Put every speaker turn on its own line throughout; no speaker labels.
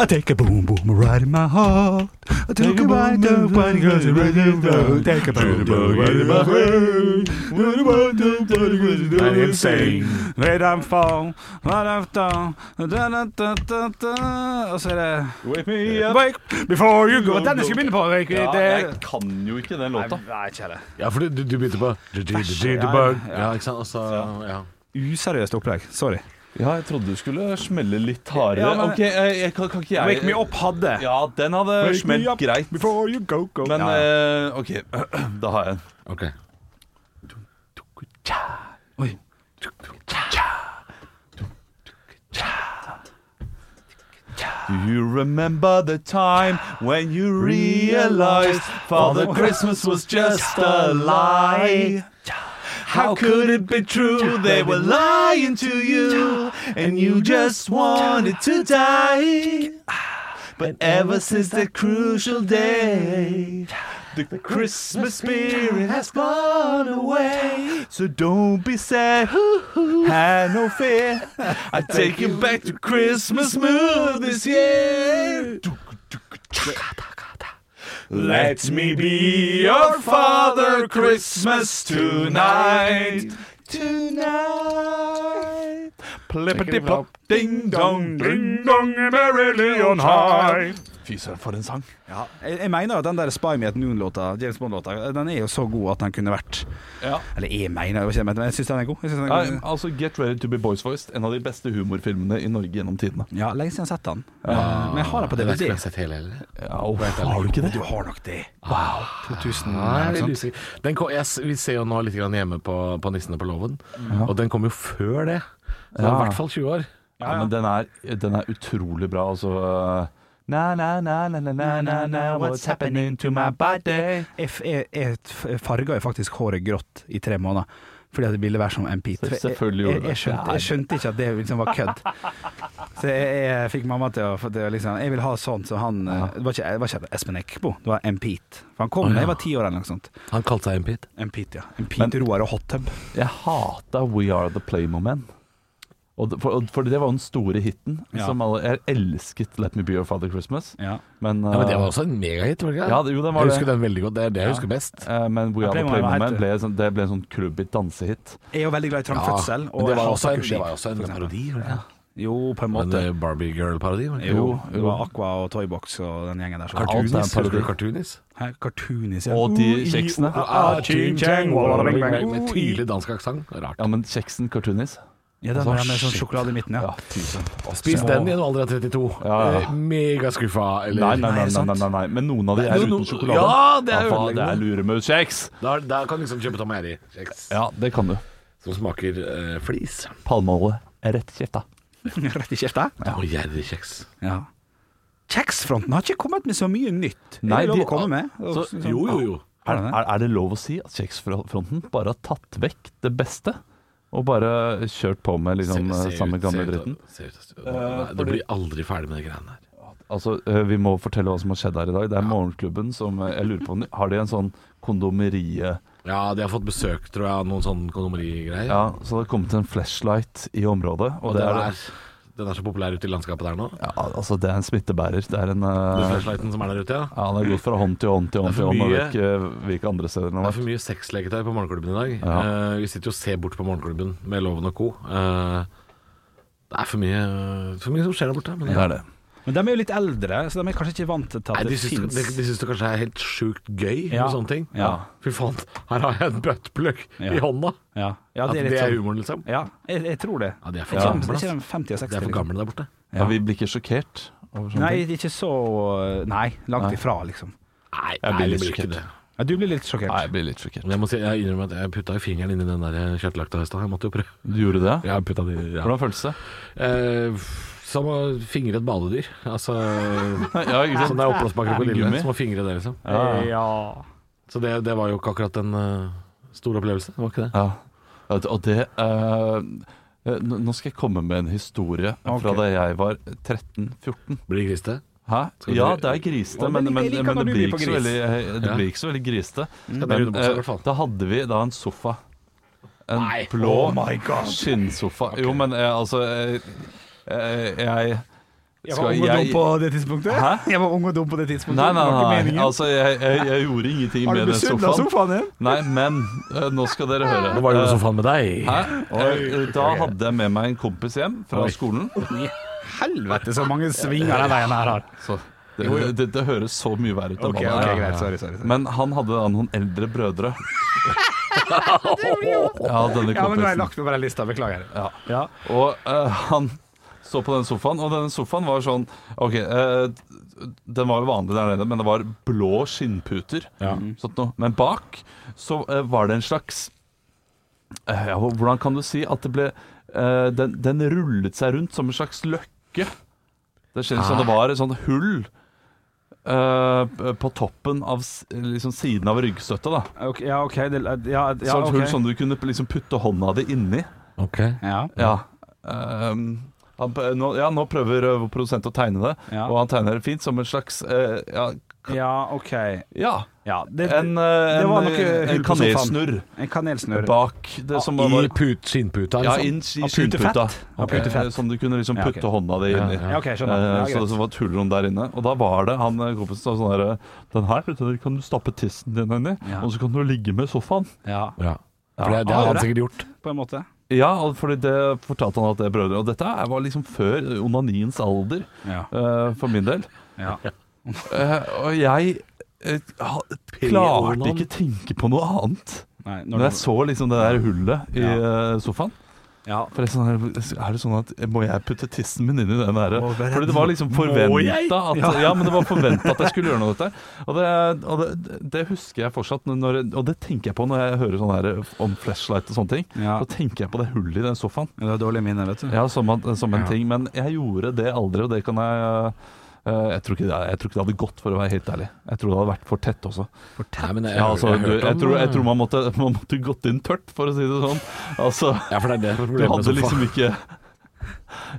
I take a boom boom right in my heart. I took
Take
a
a
right
boom,
up
boom,
right across the
boom,
right
boom, boom.
Take a boom boom right in my heart. I am saying that I'm fall, that I'm down, da da da da da. Og så er det
Wake me up.
Wake before you go. Den jeg skulle begynne på. Erik.
Ja,
Det
jeg kan jo ikke den
Nei,
låta.
nei, ikke heller.
Ja, for du, du, du begynte på du- du- du- du-
ja,
bug.
ja.
Ja, ikke sant? Og så ja.
Useriøst opplegg. Sorry.
Ja, jeg trodde du skulle smelle litt hardere.
Ja, men-
ok, jeg, jeg, kan, kan ikke jeg
Wake me up hadde.
Ja, den hadde
Wake me
smelt
up
greit.
Before you go, go.
Men
Ja, ja.
eh, OK, da har jeg en.
OK.
Oi.
You remember the time when you realized Father Christmas was just a lie. How could it be true? They were lying to you, and you just wanted to die. But ever since that crucial day, the Christmas spirit has gone away. So don't be sad, have no fear. I take you back to Christmas mood this year. Let me be your father Christmas tonight. Tonight. Plippity plop, ding dong, ding dong, merrily on high. Fy søren, for en sang.
Jeg, jeg mener at den der Spy Me At Noon-låta, James Bond-låta, den er jo så god at den kunne vært
Ja.
Eller jeg mener jo ikke det, men jeg syns den er god. Jeg synes den er
Ja,
god.
altså Get Ready To Be Boys Voiced, en av de beste humorfilmene i Norge gjennom tidene.
Ja, lenge siden jeg har sett den. Men jeg har den på
Jeg vet ikke om jeg
DVD.
har sett hele heller.
har du ikke det?
Du har nok det. Wow. 2000
Nei,
eller
jeg er
noe
litt
sånt.
usikker. den kom, jeg, s- vi ser jo nå litt grann hjemme på, på Nissene på låven, og den kom jo før det. Så det var i
Ja.
hvert fall 20 år.
Ja, men den er, den er utrolig bra, altså. Na, na, na, na, na, na, na, na, what's happening to my body?
Jeg, f- jeg, jeg f- farga jo faktisk håret grått i tre måneder. Fordi at det ville være som MP3.
Så selvfølgelig
jeg,
gjorde
jeg, jeg,
du det.
skjønte, jeg skjønte ikke at det liksom var kødd. Så jeg, jeg fikk mamma til å for det var liksom, Jeg vil ha sånn som han eh, Det var ikke, det var ikke Espen Eckbo, det var Empeat. For han kom da jeg var ti år eller noe sånt.
Han kalte seg Impit.
Empeat, ja. Empeat, Roar og Hot Tub.
Jeg hata We Are The Playmo Men. Og det- for, for det var den store hiten.
Ja.
Som alle, jeg elsket Let Me Be Your Father Christmas.
Ja.
Men,
Ja, men det
eh,
var også en megahit, var det ikke?
Ja, det- jo, den var
jeg husker
det.
den veldig godt. Det er det jeg husker best.
eh, men We
Ja,
Are The
Playmo Man
Playmo
var
Men
helt-
ble, en sånn- det ble en sånn klubbet dansehit.
Jeg er jo veldig glad i Trang
Ja,
Fødsel.
men det
jeg
var
hater
også en,
Kushib,
det var også en
for eksempel.
parodi. var det ikke?
Jo, på en
En
måte.
eh, Barbie Girl-parodi. var det ikke?
Jo,
jo.
det var Aqua og Toybox og den gjengen der. som-
Cartoonis.
Alt er en
Husker du
parodi.
Cartoonis?
Hæ? Cartoonis, ja.
Og de kjeksene.
Ah, ching, chang, walla, bing, bang.
Med med tydelig dansk aksent. Rart.
Ja, men kjeksen Cartoonis.
Ja, den
Altså,
var med sånn
shit.
sjokolade i midten, ja.
Ja, fy søren.
Spis den i en alder av 32.
Ja.
Eh, Megaskuffa. Eller
Nei,
Nei, er
nei, nei,
det
nei,
sant?
nei, nei, nei. Men noen av de er
Jo, no-
uten sjokolade.
Ja, det er
Ja, faen, det
ødeleggende.
er luremauskjeks.
Da, da kan du liksom kjøpe Tom Jerry-kjeks
Ja, det kan du.
som smaker eh, flis.
Palmeolje er rett i kjefta.
Rett i kjefta.
Og Jerry-kjeks.
Ja. Kjeksfronten har ikke kommet med så mye nytt.
Nei,
er det lov
de-
å komme med?
Så,
Sånn,
jo, jo, jo.
Er, er, er det lov å si at kjeksfronten bare har tatt vekk det beste? Og bare kjørt på med liksom
Se-
eh,
se
samme
ut- se
gamle
ut-
dritten?
se ut- se ut- Nei, Du blir aldri ferdig med de greiene der.
Altså, eh, Vi må fortelle hva som har skjedd her i dag. Det er Morgenklubben som eh, Jeg lurer på om de- Har de en sånn kondomerie
Ja, de har fått besøk, tror jeg, av noen sånne kondomerigreier.
Ja, så det har kommet en flashlight i området.
og
Og, det
den
er,
er, den er så populær ute i landskapet der nå.
ja, altså, det er en smittebærer. Det er en
Den
eh,
flashlighten som er der ute, ja.
ja, Han har gått fra hånd til hånd til hånd
Det er
til
for
hånd. Og
mye.
virker, virker andre steder
Det
enn han
er for mye sexleketøy på morgenklubben i dag.
Ja.
Eh, vi sitter jo og ser bort på morgenklubben med Loven og co. Eh, det er for mye, for mye som skjer der borte. Men
Det er det.
Men de er jo litt eldre, så de er kanskje ikke vant til at
Nei, de
det
syns,
fins.
de, de syns det kanskje er helt sjukt gøy
Ja.
med sånne ting.
Ja.
Fy faen, her har jeg en buttplug i
Ja.
hånda!
Ja. ja,
At
det er
det
litt
er
sånn.
humoren, liksom.
Ja, jeg, jeg tror det.
Ja, de er for
Ikke-
gamle,
ikke
ass.
de 50 og 60.
De er for
liksom.
gamle der borte.
Ja. vi blir ikke sjokkert over sånne
Nei,
ting.
det er ikke så Nei, langt
Nei.
ifra, liksom.
Nei,
Jeg
nei
blir
det
litt
blir ikke
sjokkert.
det.
Ja, du blir litt sjokkert.
Nei, jeg blir litt sjokkert.
Men jeg må si, jeg innrømmer at jeg putta jo fingeren inn i den der kjøttlakta i stad. Jeg måtte jo prøve.
Du gjorde det?
Jeg putta de, ja.
Hvordan føltes det?
Eh, f- som å fingre et badedyr. Altså
Ja, ikke
Sånn
sant?
det er oppblåsbakere på
Gummi.
Lillehammer som å fingre det, liksom.
Ja.
Ja.
Så det, det var jo ikke akkurat en eh, stor opplevelse. Det var ikke det.
Ja. Ja, Og det eh, eh, Nå nå skal jeg komme med en historie fra
Ok.
da jeg var 13-14.
Blir det grisete?
Hæ?
Skal
Ja,
du-
det er grisete,
Å,
men,
men
men,
jeg liker
men
når
det,
du
blir
byr på
ikke så
gris.
veldig, eh, det
Ja.
blir ikke så veldig grisete.
Skal jeg
Men,
begynne på seg, i
eh,
hvert fall?
da hadde vi da en sofa. En
Nei.
blå
Oh
skinnsofa. Jo, men eh, altså eh, eh, Jeg
Jeg
skal
var ung og dum
jeg
på det tidspunktet.
Hæ?
Jeg var ung og dum på det tidspunktet.
Nei, nei,
det var ikke
nei, nei.
meningen.
Altså, jeg, jeg, jeg gjorde ingenting
Har du
med den
besunna
sofaen.
sofaen din?
Nei, men eh, nå skal dere høre.
Nå var det jo sofaen med deg.
Hæ? Eh, Da hadde jeg med meg en kompis hjem fra
Oi.
skolen.
Helvete, så mange svinger den veien her har.
Så det, det, det høres så mye verre ut enn
Ok,
hva
ok,
det er.
greit. Sorry, sorry. sorry.
Men han hadde da noen eldre brødre. ja,
Ja, men nå har
denne
jeg
kompisen.
lagt meg på den lista. Beklager.
Ja.
Ja.
Og eh, han så på den sofaen, og denne sofaen var sånn OK, eh, den var jo vanlig der nede, men det var blå skinnputer. Sånt noe. Men bak så eh, var det en slags eh, ja, Hvordan kan du si at det ble eh, den, den rullet seg rundt som en slags løkke. Det skjer som det var et sånt hull eh, på toppen av s- liksom siden av ryggstøtta. da
Ok, ja, OK. Det, ja, ja,
Sånt
ok.
hull som du kunne liksom putte hånda di inni.
Ok.
Ja.
Ja. Ehm, han, p- nå, ja, nå prøver eh, vår produsent å tegne det,
Ja.
og han tegner det fint som en slags eh, ja, k-
ja, OK.
ja,
Ja, det,
en, eh,
det
en,
var noe
eh, en
hull på
kanelsnurr
en kanelsnurr.
bak det som var
I put, skinnputa,
ja,
liksom.
inn i
Av putefett.
skinnputa.
Av putefett.
Eh, Som du kunne liksom
Ja, ok.
putte hånda di
Ja,
inn i.
ja.
Ja, OK, skjønner.
Eh,
Ja,
Så,
greit.
så var det et hullrom der inne, og da var det han eh, kompisen sa sånn her Den her vet du, kan du stappe tissen din inn i,
Ja.
og så kan du ligge med sofaen.
Ja,
Ja. For det, det har han sikkert gjort.
på en måte.
Ja, og fordi det fortalte han at det er brødre. Og dette var liksom før onaniens alder,
Ja.
eh, for min del.
ja.
Eh, og jeg eh, ha- klarte ikke tenke på noe annet
Nei,
når
når
jeg
du,
så liksom det der hullet i
Ja.
eh, sofaen.
ja.
For det er, sånn, her- er det sånn at Må jeg putte tissen min inn i den der?
Må være-
Fordi det var liksom
Må jeg?
forventa at, ja, men det var forventet at jeg skulle gjøre noe av dette. Og, det, og det, det husker jeg fortsatt, når, og det tenker jeg på når jeg hører sånn her om flashlight og sånne ting.
Ja.
Så tenker jeg på det hullet i den sofaen.
Det var dårlige minner, vet du.
Ja, som, at- som en
Ja.
ting. Men jeg gjorde det aldri, og det kan jeg eh, jeg tror, ikke det, jeg tror ikke det hadde gått, for å være helt ærlig. Jeg tror det hadde vært for tett også.
Nei, men jeg,
Ja, altså,
jeg,
du,
hørte
jeg,
om-
tror, jeg tror man måtte, man måtte gått inn tørt, for å si det sånn. Altså,
Ja, for det er det som er
du
problemet med
hadde
sofaen.
liksom ikke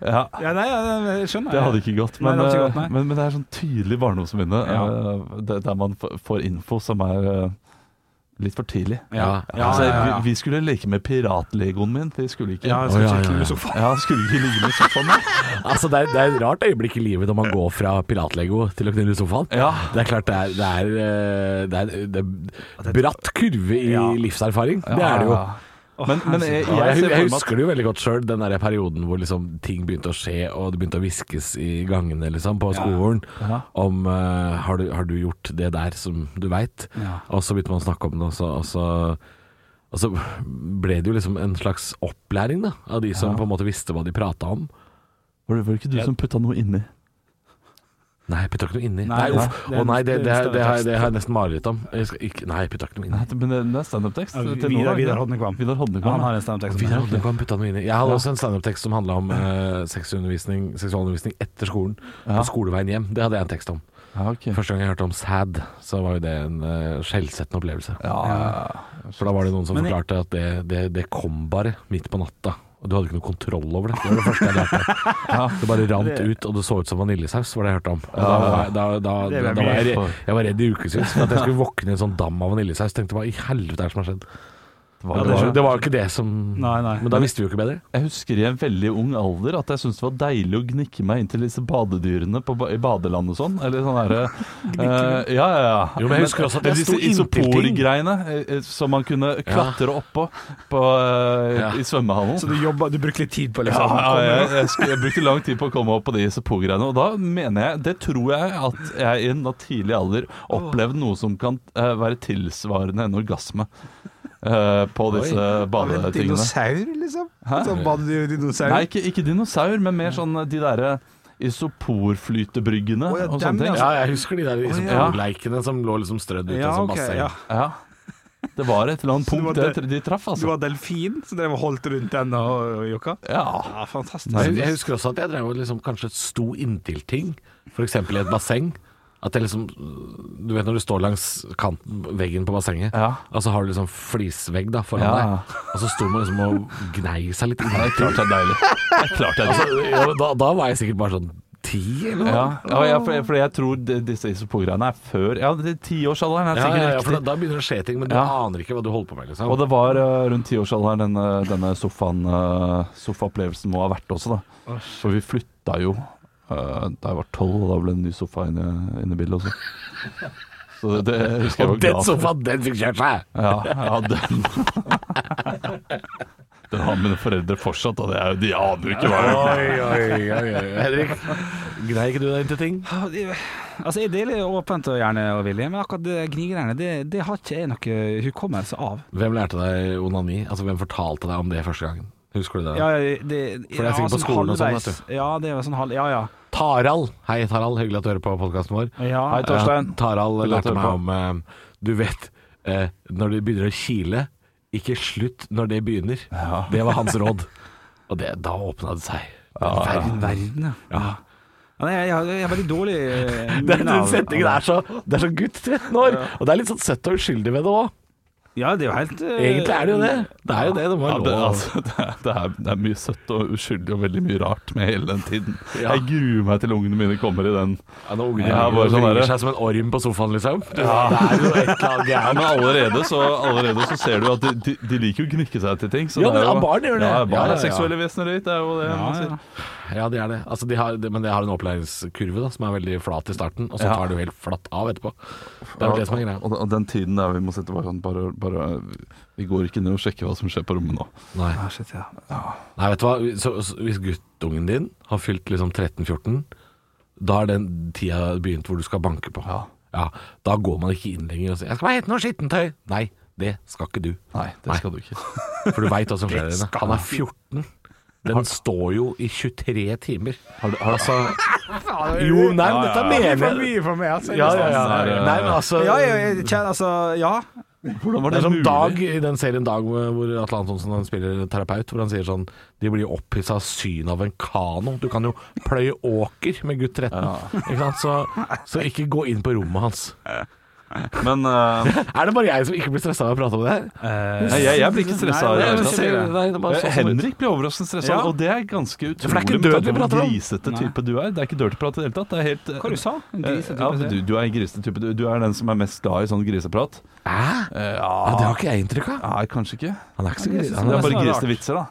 Ja,
Ja, nei, ja, jeg skjønner.
det hadde ikke gått.
Nei,
Men,
det hadde ikke
eh,
gått, nei.
men, men det er sånn tydelig barndomsminne
Ja.
eh, det- der man f- får info som er eh, litt for tidlig.
Ja,
Ja.
ja,
altså,
ja, ja, ja.
Vi, vi skulle leke med piratlegoen min. Vi skulle ikke
Ja,
ja.
jeg skal
Å, ja, altså,
ikke
ja, ja.
i sofaen.
skulle ikke ligge med sofaen der.
Altså, det, er, det er et rart øyeblikk i livet når man går fra piratlego til å knulle sofaen.
Ja.
Det er klart det er, det er, eh, det er, det er bratt kurve i
Ja.
livserfaring. Det er det jo.
Men, men jeg,
Ja, jeg,
jeg,
jeg
ser for meg at
husker det jo veldig godt sjøl, den der perioden hvor liksom ting begynte å skje, og det begynte å hviskes i gangene liksom, på skolen
Ja.
om eh, har, du, 'Har du gjort det der som du veit?'
Ja.
Og så begynte man å snakke om det, og så, og så og så ble det jo liksom en slags opplæring da, av de som på en måte visste hva de prata om.
Var det var det ikke du som putta noe inni?
Nei, jeg putta ikke noe inni. Nei,
Nei,
uff.
det er-
Å nei, det,
det er en
det, det,
større
det, har,
tekst.
det har jeg nesten mareritt om. Jeg skal ikke, nei, jeg putta ikke noe
Nei,
inni.
Men det- det er standup-tekst.
Ja,
til
Vidar-
nå, er det ikke
Vidar
det?
Hodnekvam.
Vidar Hodnekvam,
Han
ja.
har en stemmetekst.
Vidar Hodnekvam putta noe inni. Jeg hadde også en standup-tekst som handla om eh, seksualundervisning, seksualundervisning etter skolen,
Ja.
på skoleveien hjem. Det hadde jeg en tekst om.
Ja, ok.
Første gang jeg hørte om sad, så var jo det en eh, skjellsettende opplevelse. For da var det noen som
Men jeg-
forklarte at det, det, det kom bare midt på natta. Og du hadde ikke noe kontroll over det. Det var det første jeg lærte. Det bare rant ut, og det så ut som vaniljesaus, var det jeg hørte om. Og Da, var jeg- da, da,
Det
da,
er
var jeg,
mye for-
re- jeg var redd i ukevis for at jeg skulle våkne i en sånn dam av vaniljesaus. Tenkte hva i helvete er det som har skjedd? Det
var-
det
var,
skjønner
det var jo ikke det som
Nei, nei.
Men da visste vi jo ikke bedre.
Jeg husker i en veldig ung alder at jeg syntes det var deilig å gnikke meg inn til disse badedyrene på, ba- i badeland og sånn. Eller sånn herre eh, Ja, ja, ja.
Jo, men jeg husker også at jeg
disse
sto inntil ting.
isoporgreiene eh, eh, som man kunne klatre oppå på, eh,
Ja.
i svømmehallen.
Så du, jobba- du brukte litt tid på
Ja,
liksom
ja, jeg, jeg, sk- jeg brukte lang tid på å komme opp på de isopogreiene. Og da mener jeg, det tror jeg at jeg i en da tidlig alder opplevde noe som kan eh, være tilsvarende en orgasme. eh, på disse
Av en
badetingene.
Dinosaur, liksom? Sånn badedyr-dinosaur?
Nei, ikke, ikke dinosaur, men mer sånn eh, de derre isoporflytebryggene
Å, ja,
og
dem,
sånne ting.
Ja, jeg husker de der
ja.
isoporleikene som lå liksom strødd ut
ja,
av sånn
ok,
basseng.
ja.
Ja. Det var et eller annet
Så det
punkt
var det-
der de traff,
Du
altså.
var delfin, så dere holdt rundt den og og jokka?
Ja.
Ja, fantastisk.
Jeg, jeg husker også at jeg drev og liksom kanskje sto inntil ting, f.eks. i et basseng. At jeg liksom Du vet når du står langs kanten, veggen på bassenget,
Ja.
og så har du liksom flisvegg da foran
Ja.
deg, og så sto man liksom og gnei seg litt. Altså,
Det er klart det er deilig. Det er klart det er deilig.
Ja, men da, da var jeg sikkert bare sånn
ti, eller?
Ja, ja ja, for, for jeg tror de- disse isopor-greiene er før Ja, det- tiårsalderen er
Ja,
sikkert
ja, ja, for da,
riktig.
da begynner det å skje ting, men du
Ja.
aner ikke hva du holder på med. Liksom.
Og det var eh, rundt tiårsalderen denne, denne sofaen, eh, sofaopplevelsen må ha vært også, da. For vi flytta jo eh, da jeg var tolv, og da ble det en ny sofa inne, inne i bildet også. Så det, det husker jeg var
Og den
glad for.
sofaen, den fikk kjørt seg!
Ja, ja den Den har mine foreldre fortsatt, og det er jo de aner jo ikke hva det er.
oi, oi, oi. Henrik, greier ikke du deg inn til ting?
Ja, det- Altså, jeg deler åpent og gjerne og villig, men akkurat det gnigerne, det, det har ikke jeg noe hukommelse av.
Hvem lærte deg onani? Altså, hvem fortalte deg om det første gangen? Husker du det?
Ja, det,
For det er sikkert på skolen og sånn, vet
halvveis. Ja, det var sånn halv... Ja, ja.
Tarald! Hei, Tarald. Hyggelig at du hører på podkasten vår.
Ja.
Hei, Torstein.
Eh, Tarald
Hyggelig at du
lærte meg
hører
om eh, Du vet, eh, når det begynner å kile, ikke slutt når det begynner. Det var hans råd. Og det, da åpna det seg.
Verden, verden, ja.
Ja.
Ja, nei, jeg, har- jeg har veldig dårlig eh,
Den,
minne av-
setningen
av
er så, det er så gutt 13 år, og det er litt sånn søtt og uskyldig ved det òg.
Ja, det er jo helt eh,
Egentlig er det jo det. Det er jo det. Det må
Ja,
være
det,
lov.
altså, det, er, det, er, det er mye søtt og uskyldig og veldig mye rart med hele den tiden.
Ja.
Jeg gruer meg til ungene mine kommer i den.
Ja, når ungene
Ja,
ligger
bare
og
sånn
vrir
der.
seg som en orm på sofaen, liksom. Det er jo et eller annet
Ja, men
gærent.
allerede så, allerede så ser du at de, de, de liker jo å gnikke seg til ting. Så
Ja,
det er
men
jo,
barn gjør det.
Ja, barn
Ja, ja, ja.
er seksuelle vesener høyt, det er jo det
Ja,
man sier.
ja.
Ja, det er det. Altså, de har, de, men det har en opplæringskurve da, som er veldig flat i starten, og så
Ja.
tar det jo helt flatt av etterpå. Det er jo det som er greia.
Og, og den tiden der vi må sitte bare sånn bare, bare, Vi går ikke ned og sjekker hva som skjer på rommet nå.
Nei.
Ah, shit, ja.
Nei, vet du hva. Så, så, hvis guttungen din har fylt liksom 13-14, da er den tida begynt hvor du skal banke på. Ja. Da går man ikke inn lenger og sier 'jeg skal bare hete noe skittentøy'. Nei, det skal ikke du.
Nei, det
Nei.
skal du ikke.
For du veit hva som skjer der inne. Han er 14. Den står jo i 23 timer. Altså,
Har du, har du,
Jo, nei, men dette
Det er
mener jeg.
mye for meg, altså.
Ja, ja, ja.
Sånn der,
Nei, men altså
Ja, jeg, jeg kjenner altså Ja.
hvordan var
Det
det,
er som
mulig?
Dag i den serien Dag hvor hvor Atle Antonsen han spiller terapeut, hvor han sier sånn De blir opphissa av synet av en kano. Du kan jo pløye åker med gutt 13. Ikke sant? Så, så ikke gå inn på rommet hans.
Men eh,
Er det bare jeg som ikke blir stressa av å prate om det her?
nei, jeg, jeg blir ikke stressa.
Nei,
i det
nei,
hele
men
tatt.
se-
Eh,
sånn
Henrik blir overraskende stressa,
Ja.
og det er ganske utrolig.
for det er ikke
med
død
tanke
vi
på hvor
prater om.
Grisete type du er. Det er ikke dødprat i det hele tatt. Det er helt eh,
Hva du sa En gris,
ja, du, du er en grisete type. Du, du er den som er mest glad i sånn griseprat.
Hæ? Ja, det har ikke jeg inntrykk av.
Nei, kanskje ikke.
Han er ikke så grisete.
Det
Han
er sånn
er-
bare
rart.
grisete vitser, da.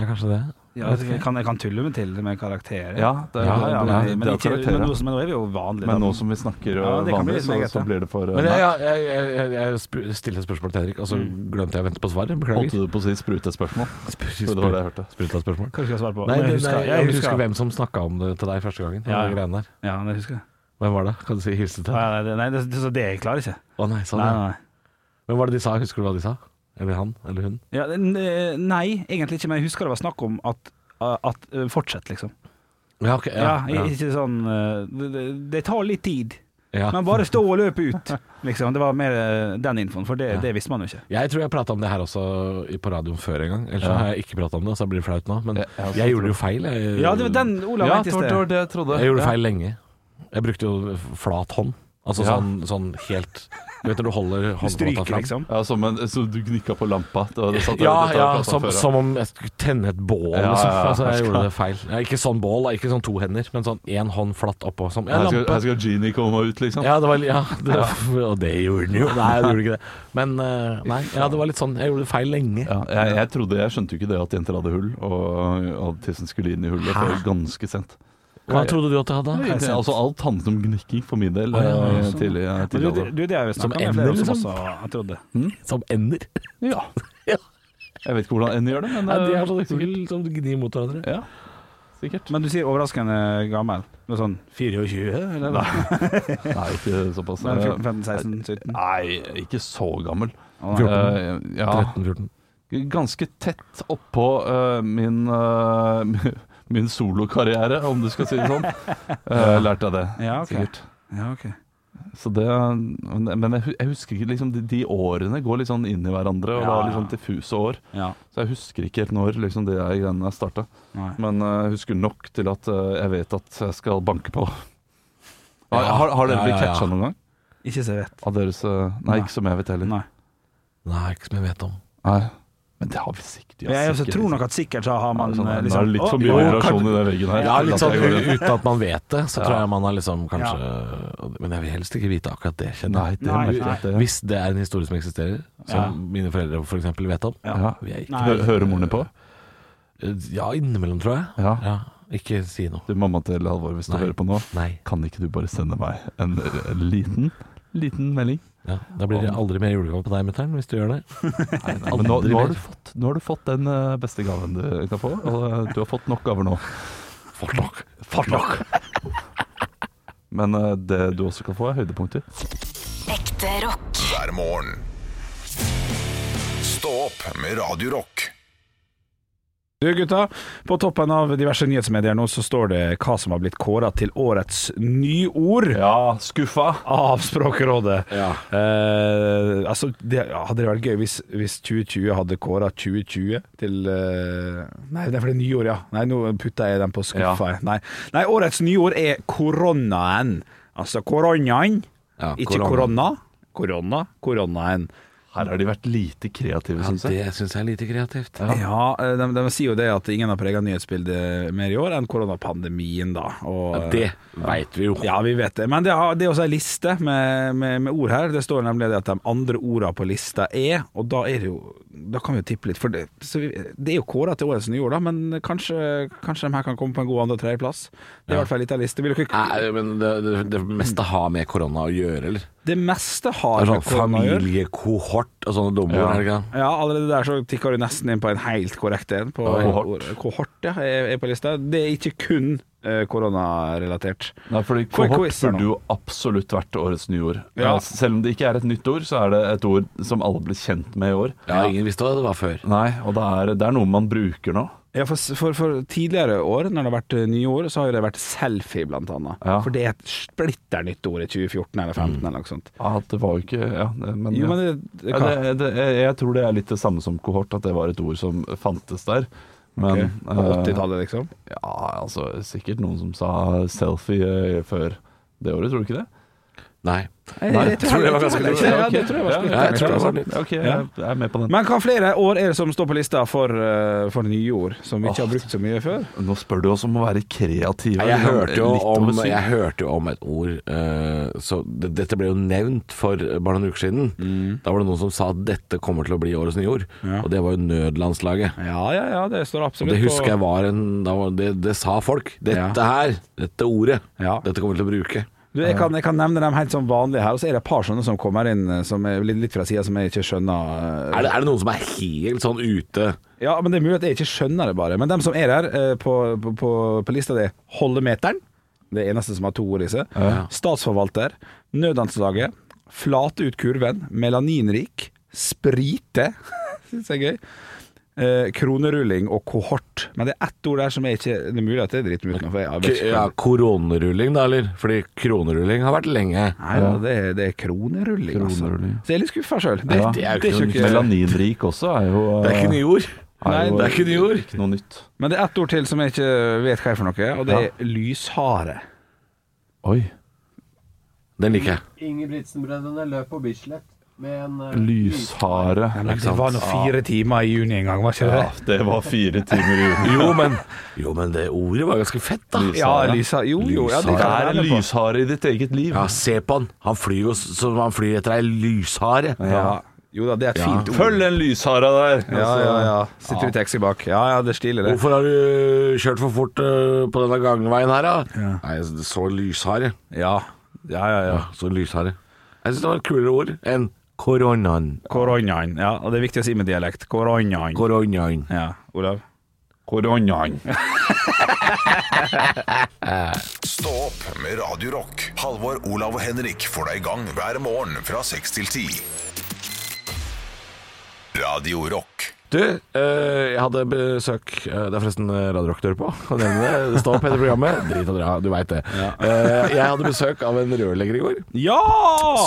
Ja, kanskje det.
ja, jeg, kan, jeg kan tulle meg til det med karakterer.
Ja, det er,
ja, ja,
det er-
men, men,
det er
ikke,
karakterer.
men, nå, men nå er vi jo vanlige. da.
Men nå som vi snakker eh,
Ja, det kan bli
vanlig,
litt
så,
meget, ja.
så blir det for eh,
Men
nei.
jeg, jeg, jeg, jeg, jeg sp- stiller et spørsmål til Henrik, og så
Mm.
glemte jeg å vente på svar.
Holdt
Beklager.
du på å si sprutespørsmål? Det var det jeg hørte.
Spruta spørsmål.
Hva skal jeg svare på?
Nei,
Men
det,
jeg husker,
nei, jeg husker
hvem
hvem som snakka om det til deg første gangen.
Ja, ja.
de greiene der.
Ja, det husker jeg.
Hvem var det? Kan du si hilse til?
Nei, det, nei, det, det, så det klarer jeg ikke.
Å nei, sånn.
Nei,
ja.
nei, nei.
Hvem var det de sa? Husker du hva de sa? Eller han? Eller hun?
Ja, det- n- nei, egentlig ikke, men jeg husker det var snakk om at, at eh, Fortsett, liksom.
Ja, ok. Ja,
Ja,
ja,
Ikke sånn eh, det- det, det tar litt tid,
ja.
men bare stå og løpe ut, liksom. Det var mer eh, den infoen, for det,
Ja.
det visste man jo ikke.
Jeg tror jeg prata om det her også i- på radioen før en gang. Ellers så har jeg ikke prata om det, så det blir flaut nå. Men
Ja, jeg
jeg,
også
gjorde jo feil. Jeg,
Ja, det var den Olav
Ja,
mente
det
i
var det,
sted.
var det jeg trodde.
jeg gjorde
Ja.
feil lenge. Jeg brukte jo flat hånd. Altså
Ja.
sånn, sånn helt Du vet når du holder
Du
håndflata
stryker,
fram?
liksom.
Ja, som en, så du gnikka på lampa. Det var, det satt der,
Ja,
dette har
ja
jeg pratet
som,
om før,
som om jeg skulle tenne et bål,
Ja,
liksom.
ja, ja.
Altså, jeg
Jeg
gjorde
skal-
det feil. Ja, ikke sånn bål, da. ikke sånn to hender, men sånn én hånd flatt oppå. Som, ja,
Her skal,
lampe.
her skal Genie komme ut, liksom.
Ja, det var, ja, det, og det gjorde den jo. Nei, det gjorde ikke det. Men eh, nei, ja, det var litt sånn Jeg gjorde det feil lenge.
Ja, jeg, jeg trodde, jeg skjønte jo ikke det at jenter hadde hull, og at tissen skulle inn i hullet før ganske sent.
Hva trodde du at jeg hadde?
Det, altså Alt handlet om gnikking for min del.
Å, ja,
eh,
sånn.
tidlig, eh,
Men
tidlig
du,
alder.
du, det har vi
Som
snakka med
ender,
flere som
liksom.
også jeg trodde.
Som ender.
Ja. Jeg vet ikke hvordan N gjør det, men
Nei, de
eh,
er sånn hull som gnir mot hverandre.
ja, sikkert.
Men du sier overraskende gammel. Noe sånn 24, eller? Sånn Nei,
Nei, ikke såpass.
Men
Eh,
14, 15, 16, 17?
Nei, ikke så gammel.
Å, nei.
14.
Eh, ja,
13-14.
ganske tett oppå eh, min, eh, min solokarriere, om du skal si det sånn. Eh, lærte jeg det,
Ja, ok.
sikkert.
Ja, ok.
Så det, men jeg, hu- jeg husker ikke liksom, de, de årene går litt sånn inn i hverandre, og det
Ja,
var litt
ja.
sånn diffuse år.
Ja.
Så jeg husker ikke helt når liksom, de der greiene starta.
Nei.
Men eh, jeg husker nok til at eh, jeg vet at jeg skal banke på. Har,
Ja.
har, har dere
Ja,
blitt
ja, ja.
catcha noen gang?
Ikke så jeg vet.
Av deres eh,
Nei.
Nei, ikke som jeg vet heller.
Nei.
Nei, ikke som jeg vet om.
Nei. Men det har vi sikkert.
Jeg, også tror nok at sikkert så har man
sånn,
eh,
nå er
liksom,
det litt for
«Å,
mye
å,
variasjon i
kan-
den veggen her.
Ja, litt sånn
At jeg går-
u- uten at man vet det, så tror jeg man har liksom kanskje Men jeg vil helst ikke vite akkurat det,
Nei,
kjenner jeg.
det
Nei,
merker jeg
nei.
at det
Hvis det er en historie som eksisterer, som
Ja.
mine foreldre f.eks. For vet om,
Ja.
vil jeg ikke
Nei.
Hø- Hører moren din på?
Ja, innimellom, tror jeg.
Ja.
Ikke si noe.
Du, mamma til Halvor, hvis du
Nei.
hører på nå,
Nei.
kan ikke du bare sende meg en, en liten, liten melding?
Ja, da blir det aldri mer julegave på deg, mutter'n, hvis du gjør det.
Nei, nei, men nå, nå, har du fått, nå har du fått den eh, beste gaven du kan få, og eh, du har fått nok gaver nå.
Fort nok.
Men eh, det du også kan få, er høydepunkter.
Ekte rock.
hver morgen. Stå opp med Radio Rock.
Du gutta, på toppen av diverse nyhetsmedier nå så står det hva som har blitt kåra til årets nyord
Ja, skuffa!
av Språkrådet.
Ja.
Eh, altså, det hadde det vært gøy hvis, hvis 2020 hadde kåra 2020 til eh, Nei, det er fordi nyord, ja. Nei, nå putta jeg den på skuffa. jeg. Nei. nei, årets nyord er koronaen. Altså koronaen,
Ja,
ikke korona.
korona.
Korona, koronaen.
Her har de vært lite kreative,
Ja,
syns jeg.
det syns jeg er lite kreativt.
Ja, eh, de, de sier jo det at ingen har prega nyhetsbildet mer i år enn koronapandemien, da. Og, eh,
Ja, det veit vi jo.
Ja, vi vet det. Men det, har, det er også ei liste med, med, med ord her. Det står nemlig det at de andre orda på lista er, og da er det jo Da kan vi jo tippe litt. For det, så vi, det er jo kåra til årets nyord, da, men kanskje, kanskje de her kan komme på en god andre- og tredjeplass. Det er i hvert fall litt av liste. Vil dere,
Nei, men det, det, det meste har med korona å gjøre, eller?
det meste
Det
har
er
med
sånn
korona å gjøre.
familiekohort og sånne dumme ord, er det ikke? det?
Ja, allerede der så tikker du nesten inn på en helt korrekt en. På,
Ja,
kohort.
ord- kohort, ja, er, er på lista. Det er ikke kun eh, koronarelatert.
Nei, fordi
Få en
kohort
quiz her nå.
burde jo absolutt vært årets nyord.
Ja.
Eh, Selv om det ikke er et nytt ord, så er det et ord som alle ble kjent med i år.
Ja, ingen visste hva det var før.
Nei, og det er, det er noe man bruker nå.
Ja, for, for, for tidligere år, når det har vært eh, nye år, så har jo det vært selfie, blant annet.
Ja.
For det er et splitter nytt ord i 2014 eller 2015 eller noe sånt.
Ja, det var jo ikke Ja, det- men,
Jo, men det, det,
Ja,
hva?
det, det, jeg tror det er litt det samme som kohort, at det var et ord som fantes der. Men
Ok, På
eh,
80-tallet, liksom.
Ja, altså sikkert noen som sa selfie eh, før det året, tror du ikke det?
Nei.
Nei, jeg
tror det var ganske
jeg-
lurt.
Ja, det tror jeg var
Ja, jeg
splitter
tror det
nytt.
var
litt. Ok, jeg er med på den.
Men hva flere år er det som står på lista for, eh, for nye ord, som vi ikke har brukt så mye før?
Nå spør du oss om å være kreative.
Nei, Jeg
liksom,
hørte, jo
litt
om,
over syv.
jeg hørte jo om et ord eh, så det, Dette ble jo nevnt for bare noen uker siden. Da var det noen som sa at dette kommer til å bli årets nyord.
Mm. Ja.
Og det var jo nødlandslaget.
Ja, ja, ja, det står absolutt
Det
på-
husker jeg var en da var, det, det sa folk. Dette her, dette ordet,
Ja.
dette kommer vi til å bruke.
Du, jeg, kan, jeg kan nevne dem helt sånn vanlige her, og så er det et par sånne som kommer inn eh, som er litt, litt fra sida som jeg ikke skjønner. eh,
Er det, er det noen som er helt sånn ute?
Ja, men det er mulig at jeg ikke skjønner det bare. Men dem som er der eh, på, på, på, på lista, det er Holdemeteren. Det er eneste som har to ord i seg. Statsforvalter. Nødlandslaget. Flate ut kurven. Melaninrik. Sprite. Syns jeg er gøy. Eh, kronerulling og kohort. Men det er ett ord der som jeg ikke Det er mulig at det er driter meg ut nå, for jeg vet
K
ikke.
ja,
hva-
koronerulling, da, eller? Fordi kronerulling har vært lenge.
Nei, ja, det, er, det er kronerulling, altså.
Kronerulling.
Så jeg er litt skuffa sjøl. Det,
Ja.
det,
er jo
det er
ikke
ikke noe
Melaninrik også er jo
Det er ikke nye ord.
Nei,
jo
det
er ikke nye ord.
Ikke noe nytt.
Men det er ett ord til som jeg ikke vet hva er for noe, og det er lyshare.
Oi.
Den liker jeg.
Ingebrigtsen-brødrene løp på Bislett med en eh,
Lyshare.
Nei, det var nå fire timer i juni en gang, var ikke det?
Ja, det var fire timer i uka.
Jo, men, jo, men det ordet var ganske fett, da.
Ja, lysa, jo, jo, ja, det
Det
kan jeg
er en
være med på.
lyshare i ditt eget liv.
Ja, se på han. Han flyr jo som han flyr etter ei lyshare.
Ja. Jo da, det er et fint ord.
Følg altså. den lyshara der!
Ja, ja, ja. Sitter i taxi bak. Ja, ja, det er stilig, det.
Hvorfor har du kjørt for fort eh, på denne gangveien her, da? Nei, altså, så lyshare.
Ja. Ja, ja, ja.
Ja, så lyshare. Jeg syns det var et kulere ord enn koronaen.
Koronaen. Ja, og det er viktig å si med dialekt. Koronaen.
Koronaen.
Ja, Olav.
Altså, Koronaen.
Stå opp med Radio Rock. Halvor, Olav og Henrik får deg i gang hver morgen fra 6 til 10. Radio Rock.
Du, eh, jeg hadde besøk eh, Det er forresten eh, Radio Rock du hører på. å nevne Det Det står på hele programmet. Drit og dra, du veit det. Eh, jeg hadde besøk av en rørlegger i går.
Ja!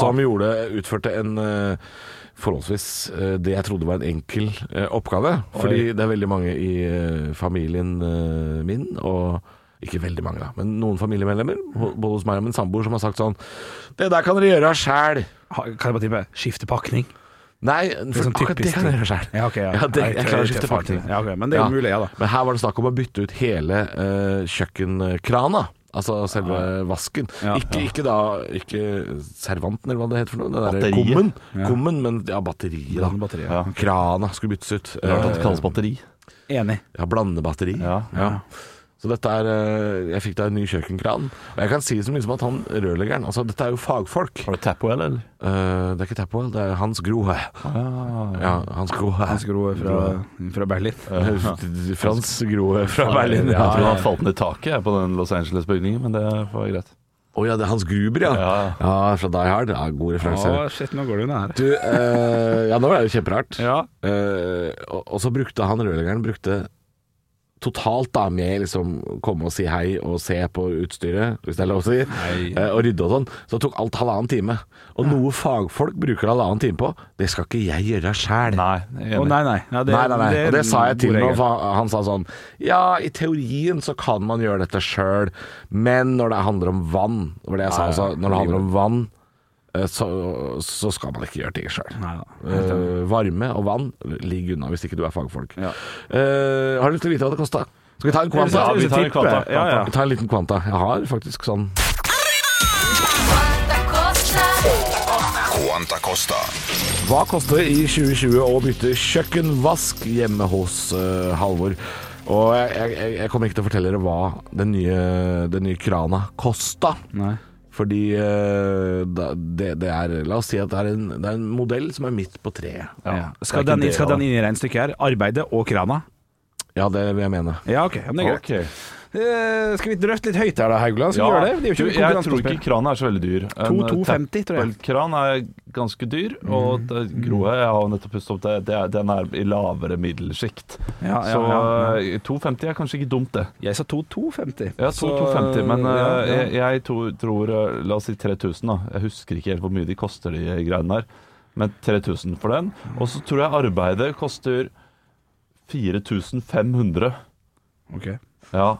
som gjorde, utførte en eh, forholdsvis eh, det jeg trodde var en enkel eh, oppgave. Fordi det er veldig mange i eh, familien eh, min, og ikke veldig mange da, men noen familiemedlemmer, ho- både hos meg og min samboer, som har sagt sånn Det der kan dere gjøre sjæl.
Ha- Kan jeg bare tippe? Skifte pakning?
Nei, for
sånn
akkurat det
typisk
kan jeg
ting.
gjøre sjøl.
Ja, ok, ja.
det,
Nei, det
jeg klarer å
er
skifte
faktisk-
fartøy.
ja, ok, men det er jo mulig, ja da.
Men her var det snakk om å bytte ut hele eh, kjøkkenkrana. Altså selve vasken.
Ja,
ikke, ikke da Ikke servanten, eller hva det heter for noe. Det der
Batteriet.
kummen. Kummen, men ja, batteriet, da.
Blandebatteriet,
sånn Ja. Krana skulle byttes ut.
Rart at
Eh,
det kalles batteri.
Enig.
ja, blandebatteri.
Ja.
Så dette er eh, Jeg fikk da en ny kjøkkenkran. Og jeg kan si det så mye som liksom at han rørleggeren Altså, dette er jo fagfolk.
Var det Tapwell, eller?
Eh, det er ikke Tapwell, det er Hans Grohe. Ah, Ja, Hans Grohe.
Hans Grohe fra, fra Berlin.
Eh, Frans Grohe fra
Berlin,
Berlin.
Jeg tror
Ja.
han falt ned taket jeg, på den Los Angeles-bygningen, men det får være greit.
Å ja, det er Hans Gruber, ja.
Ja, ja.
Ja, fra Die Hard. Ja, god referanse.
Å, shit, nå går det unna her.
Du, eh, ja, nå var det jo kjemperart.
Ja.
Eh, og, og så brukte han rørleggeren brukte totalt da med liksom komme og si hei og se på utstyret, hvis det er lov å si, eh, og rydde og sånn. Så det tok alt halvannen time. Og noe fagfolk bruker halvannen time på, det skal ikke jeg gjøre sjæl.
Nei, jeg er
Å,
enig.
nei, nei. Ja,
Nei, nei, nei.
er
og det sa jeg
en
til
god
ham,
regel.
for han sa sånn Ja, i teorien så kan man gjøre dette sjøl, men når det handler om vann det var det jeg sa, altså, Når det handler om vann, eh, så, så skal man ikke gjøre ting sjøl.
Nei da.
Eh, varme og vann, ligg unna hvis ikke du er fagfolk. Eh, har du lyst til å vite hva det kosta? Skal vi ta en kvanta?
Ja, vi tar en kvanta.
Ja, ja.
Vi tar en liten kvanta. Jeg har faktisk sånn
Quanta Costa.
Hva koster det i 2020 å bytte kjøkkenvask hjemme hos eh, Halvor? Og jeg, jeg, jeg kommer ikke til å fortelle dere hva den nye, den nye krana kosta.
Nei.
Fordi eh, da- det, det er La oss si at det er en, det er en modell som er midt på treet.
Ja.
Det
Skal,
er ikke
den,
det,
skal
da.
den inn i regnestykket her? Arbeidet og krana?
Ja, det vil jeg mene.
Ja, OK. Men det er greit.
Ok.
Eh, skal vi drøfte litt høyt her da, Haugland? Skal
Ja.
vi gjøre det? Det er jo ikke
Du,
noe
jeg tror
konkurransespill.
ikke kranen er så veldig dyr. En
2,250 tror jeg. Mm.
Tappelkran er ganske dyr, og det, Grohe, jeg har jo nettopp pustet opp det, det er, den er i lavere middelsjikt.
Ja, ja,
så
ja,
2,50 er kanskje ikke dumt, det.
Jeg sa 2250.
Ja,
Så,
2,250, men
ja,
eh,
ja.
Jeg, jeg to, tror eh, La oss si 3000, da. Jeg husker ikke helt hvor mye de koster, de greiene der. Men 3000 for den. Og så tror jeg arbeidet koster 4500.
Ok.
Ja.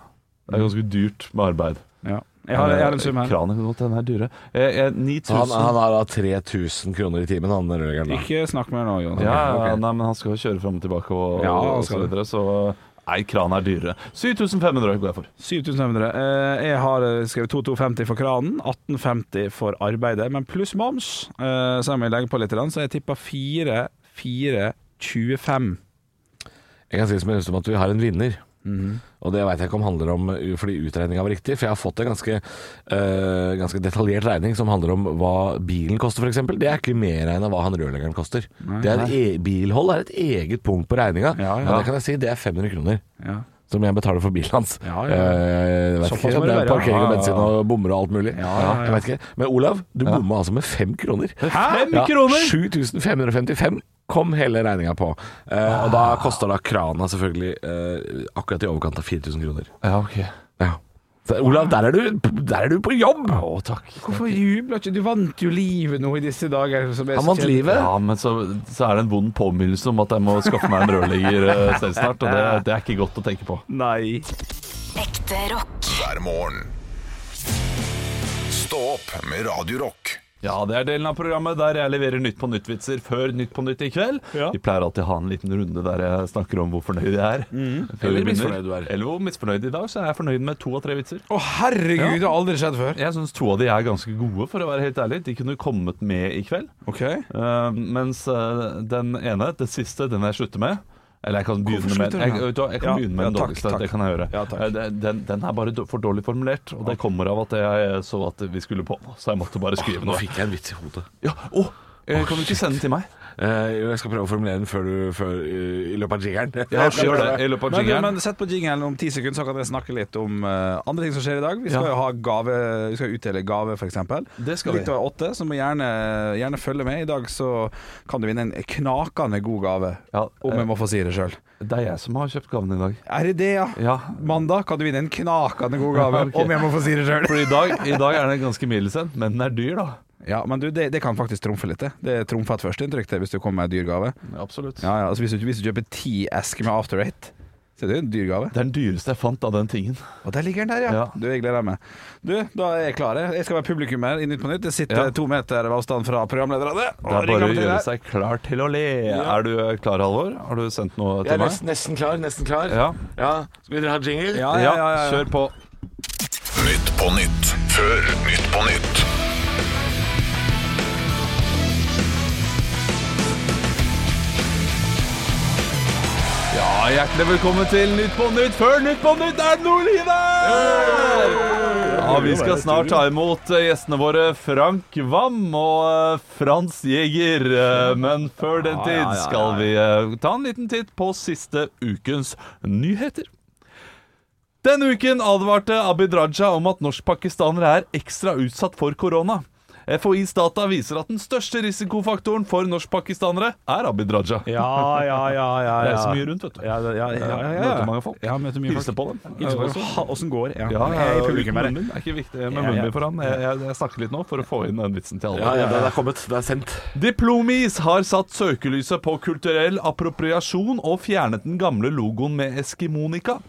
Det
Mm.
er ganske dyrt med arbeid.
Ja. Jeg, har,
Eh,
jeg har en sum her.
Kranen kan godt hende er dyre. Eh, eh, 9000
Han, han har da 3000 kroner i timen, han rørleggeren. da.
Ikke snakk med meg nå, Jonas.
Ja,
Ok.
ja, nei, men han skal jo kjøre fram og tilbake og,
Ja, han
og så
skal det.
videre, så Nei, kranen er dyrere. 7500 går jeg for.
7500. Eh, Jeg har eh, skrevet 2250 for kranen, 1850 for arbeidet, men pluss moms, eh, så jeg må legge på litt, grann, så jeg tipper 4, 4, 25.
Jeg kan si som jeg husker om at vi har en vinner.
Mhm.
Og det veit jeg ikke om handler om uh, fordi utregninga var riktig, for jeg har fått en ganske, uh, ganske detaljert regning som handler om hva bilen koster, f.eks. Det er ikke medregna hva han rørleggeren koster. det er et e bilhold er et eget punkt på regninga.
Ja, ja.
det kan jeg si, det er 500 kroner.
Ja.
Som jeg betaler for bilen hans.
Ja, ja.
Eh, Jeg vet
Såpass
ikke,
må det
det er
være, ja.
parkering og
Ja, ja,
bensin
ja.
og bommer og alt mulig.
ja, ja.
Jeg vet ikke. Men Olav, du bomma altså med fem kroner.
Fem
Ja,
kroner!
7555 kom hele regninga på. Eh,
Ah.
og da koster da krana selvfølgelig eh, akkurat i overkant av 4000 kroner.
Ja, ok.
Ja. Så, Olav, der er, du, der er du på jobb!
Å, takk.
Hvorfor jubler ikke du? Du vant jo livet nå i disse dager. Som er
Han
så
vant
kjedelig.
livet.
Ja, men så, så er det en vond påminnelse om at jeg må skaffe meg en rørlegger eh, selv snart, og det, det er ikke godt å tenke på.
Nei.
Ekte rock.
hver morgen. Stå opp med Radio Rock.
Ja, det er delen av programmet der jeg leverer Nytt på nytt-vitser før Nytt på nytt i kveld.
Ja.
Vi pleier alltid å ha en liten runde der jeg snakker om hvor fornøyd jeg er.
Mm.
før vi
Eller
begynner.
misfornøyd du er.
Eller hvor misfornøyd i dag, så er jeg fornøyd med to av tre vitser.
Å, herregud, det har aldri skjedd før.
Jeg syns to av de er ganske gode, for å være helt ærlig. De kunne kommet med i kveld.
Ok.
Eh, mens eh, den ene, det siste, den jeg slutter med Eller jeg kan begynne med
slutter du
jeg,
med?
vet du hva, jeg kan
Ja,
begynne med
ja,
den
takk,
dårligste.
takk.
Det kan jeg gjøre.
Ja, takk.
Eh, den- den, den er bare do- for dårlig formulert, og det kommer av at jeg eh, så at vi skulle på nå, så jeg måtte bare skrive
Nå
noe.
fikk jeg en vits i hodet.
Ja, å, eh, kan du ikke sende den til meg?
Eh, jo, jeg skal prøve å formulere den før du, før, eh, i løpet av jingeren.
Ja, gjør det i løpet av
Men, du,
jingeren.
men sett på jingelen om ti sekunder, så kan dere snakke litt om eh, andre ting som skjer i dag. Vi skal jo ha gave, vi skal utdele gave, f.eks.
Det skal vi.
Litt over åtte, så må gjerne, gjerne følge med. I dag så kan du vinne en knakende god gave,
Ja, eh.
om jeg må få si det sjøl.
Det er jeg som har kjøpt gaven i dag.
Er det det, ja?
Ja.
Mandag kan du vinne en knakende god gave,
Ok.
om jeg må få si det sjøl.
For i dag, i dag er den ganske middels en, men den er dyr, da.
Ja, men du, det, det kan faktisk trumfe litt, det. Det trumfer et førsteinntrykk det, hvis du kommer med en dyr gave.
Absolutt.
Ja, ja, altså hvis, du, hvis du kjøper ti esker med After Eight, så Det er jo en dyr gave.
Det er den dyreste jeg fant av den tingen.
Og der ligger den der, ja.
Ja.
Du, jeg gleder meg. Du, da er jeg klar. jeg. Jeg skal være publikummer i Nytt på Nytt. Jeg sitter
Ja.
to meter ved avstand fra programlederne.
Det er bare å gjøre seg klar til å le. Er du eh, klar, Halvor? Har du sendt noe
Jeg
til
er
meg?
nesten, nesten klar. Nesten klar.
Ja.
Skal dere ha jingle?
Ja, ja, ja, ja.
kjør på.
Nytt på nytt før Nytt på nytt.
Ja, hjertelig velkommen til Nytt på Nytt før Nytt på Nytt er det noe liv her! Ja, vi skal snart ta imot eh, gjestene våre Frank Wam og eh, Frans Jæger. eh, Men før den tid skal vi eh, ta en liten titt på siste ukens nyheter. Denne uken advarte Abid Raja om at norskpakistanere er ekstra utsatt for korona. FHIs data viser at den største risikofaktoren for norskpakistanere er Abid Raja.
Ja, ja, ja, ja, ja.
Reiser mye rundt, vet du.
Ja, ja, ja, ja, ja, ja.
Møter mange folk.
Ja, møter mye
Hilser på
folk.
dem.
Hilser på
Hilser
dem.
på
Ha- Åssen går ja.
Ja, ja,
Jeg er i
uten
publikum her.
munnbind. Det er ikke viktig med
Ja, ja.
munnbind foran. Jeg, jeg, jeg snakker litt nå for å få inn den vitsen til alle.
Ja, ja, det er kommet. Det er sendt.
Diplomis har satt søkelyset på kulturell appropriasjon og fjernet den gamle logoen med Eskimonika.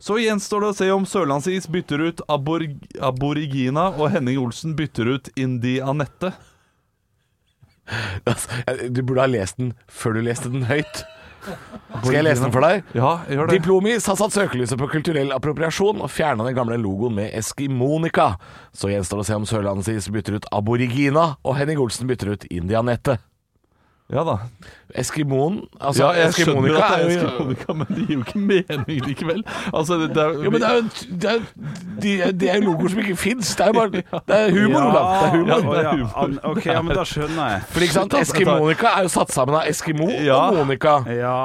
Så gjenstår det å se om Sørlandsis bytter ut aborig Aborigina, og Henning Olsen bytter ut Indianette.
Altså, Du burde ha lest den før du leste den høyt. Skal jeg lese den for deg?
Ja, gjør det.
Diplomis har satt søkelyset på kulturell appropriasjon og fjerna den gamle logoen med Eskimonika. Så gjenstår det å se om Sørlandsis bytter ut Aborigina, og Henning Olsen bytter ut Indianette.
Ja da.
Eskimoen altså,
Ja, jeg skjønner
Eskimonika
at det er
jo-
Eskimonika, men det gir jo ikke mening likevel. Altså, det, det er,
Jo, men det er jo det er, de, de er jo logoer som ikke fins. Det er jo bare Det er humor, Olav. Det er humor.
Ja, å,
det er
ja.
humor.
An- Ok, ja, men da skjønner jeg.
Fordi, ikke sant?
Slutt, altså.
Eskimonika er jo satt sammen av Eskimo
Ja.
og Monika.
Ja.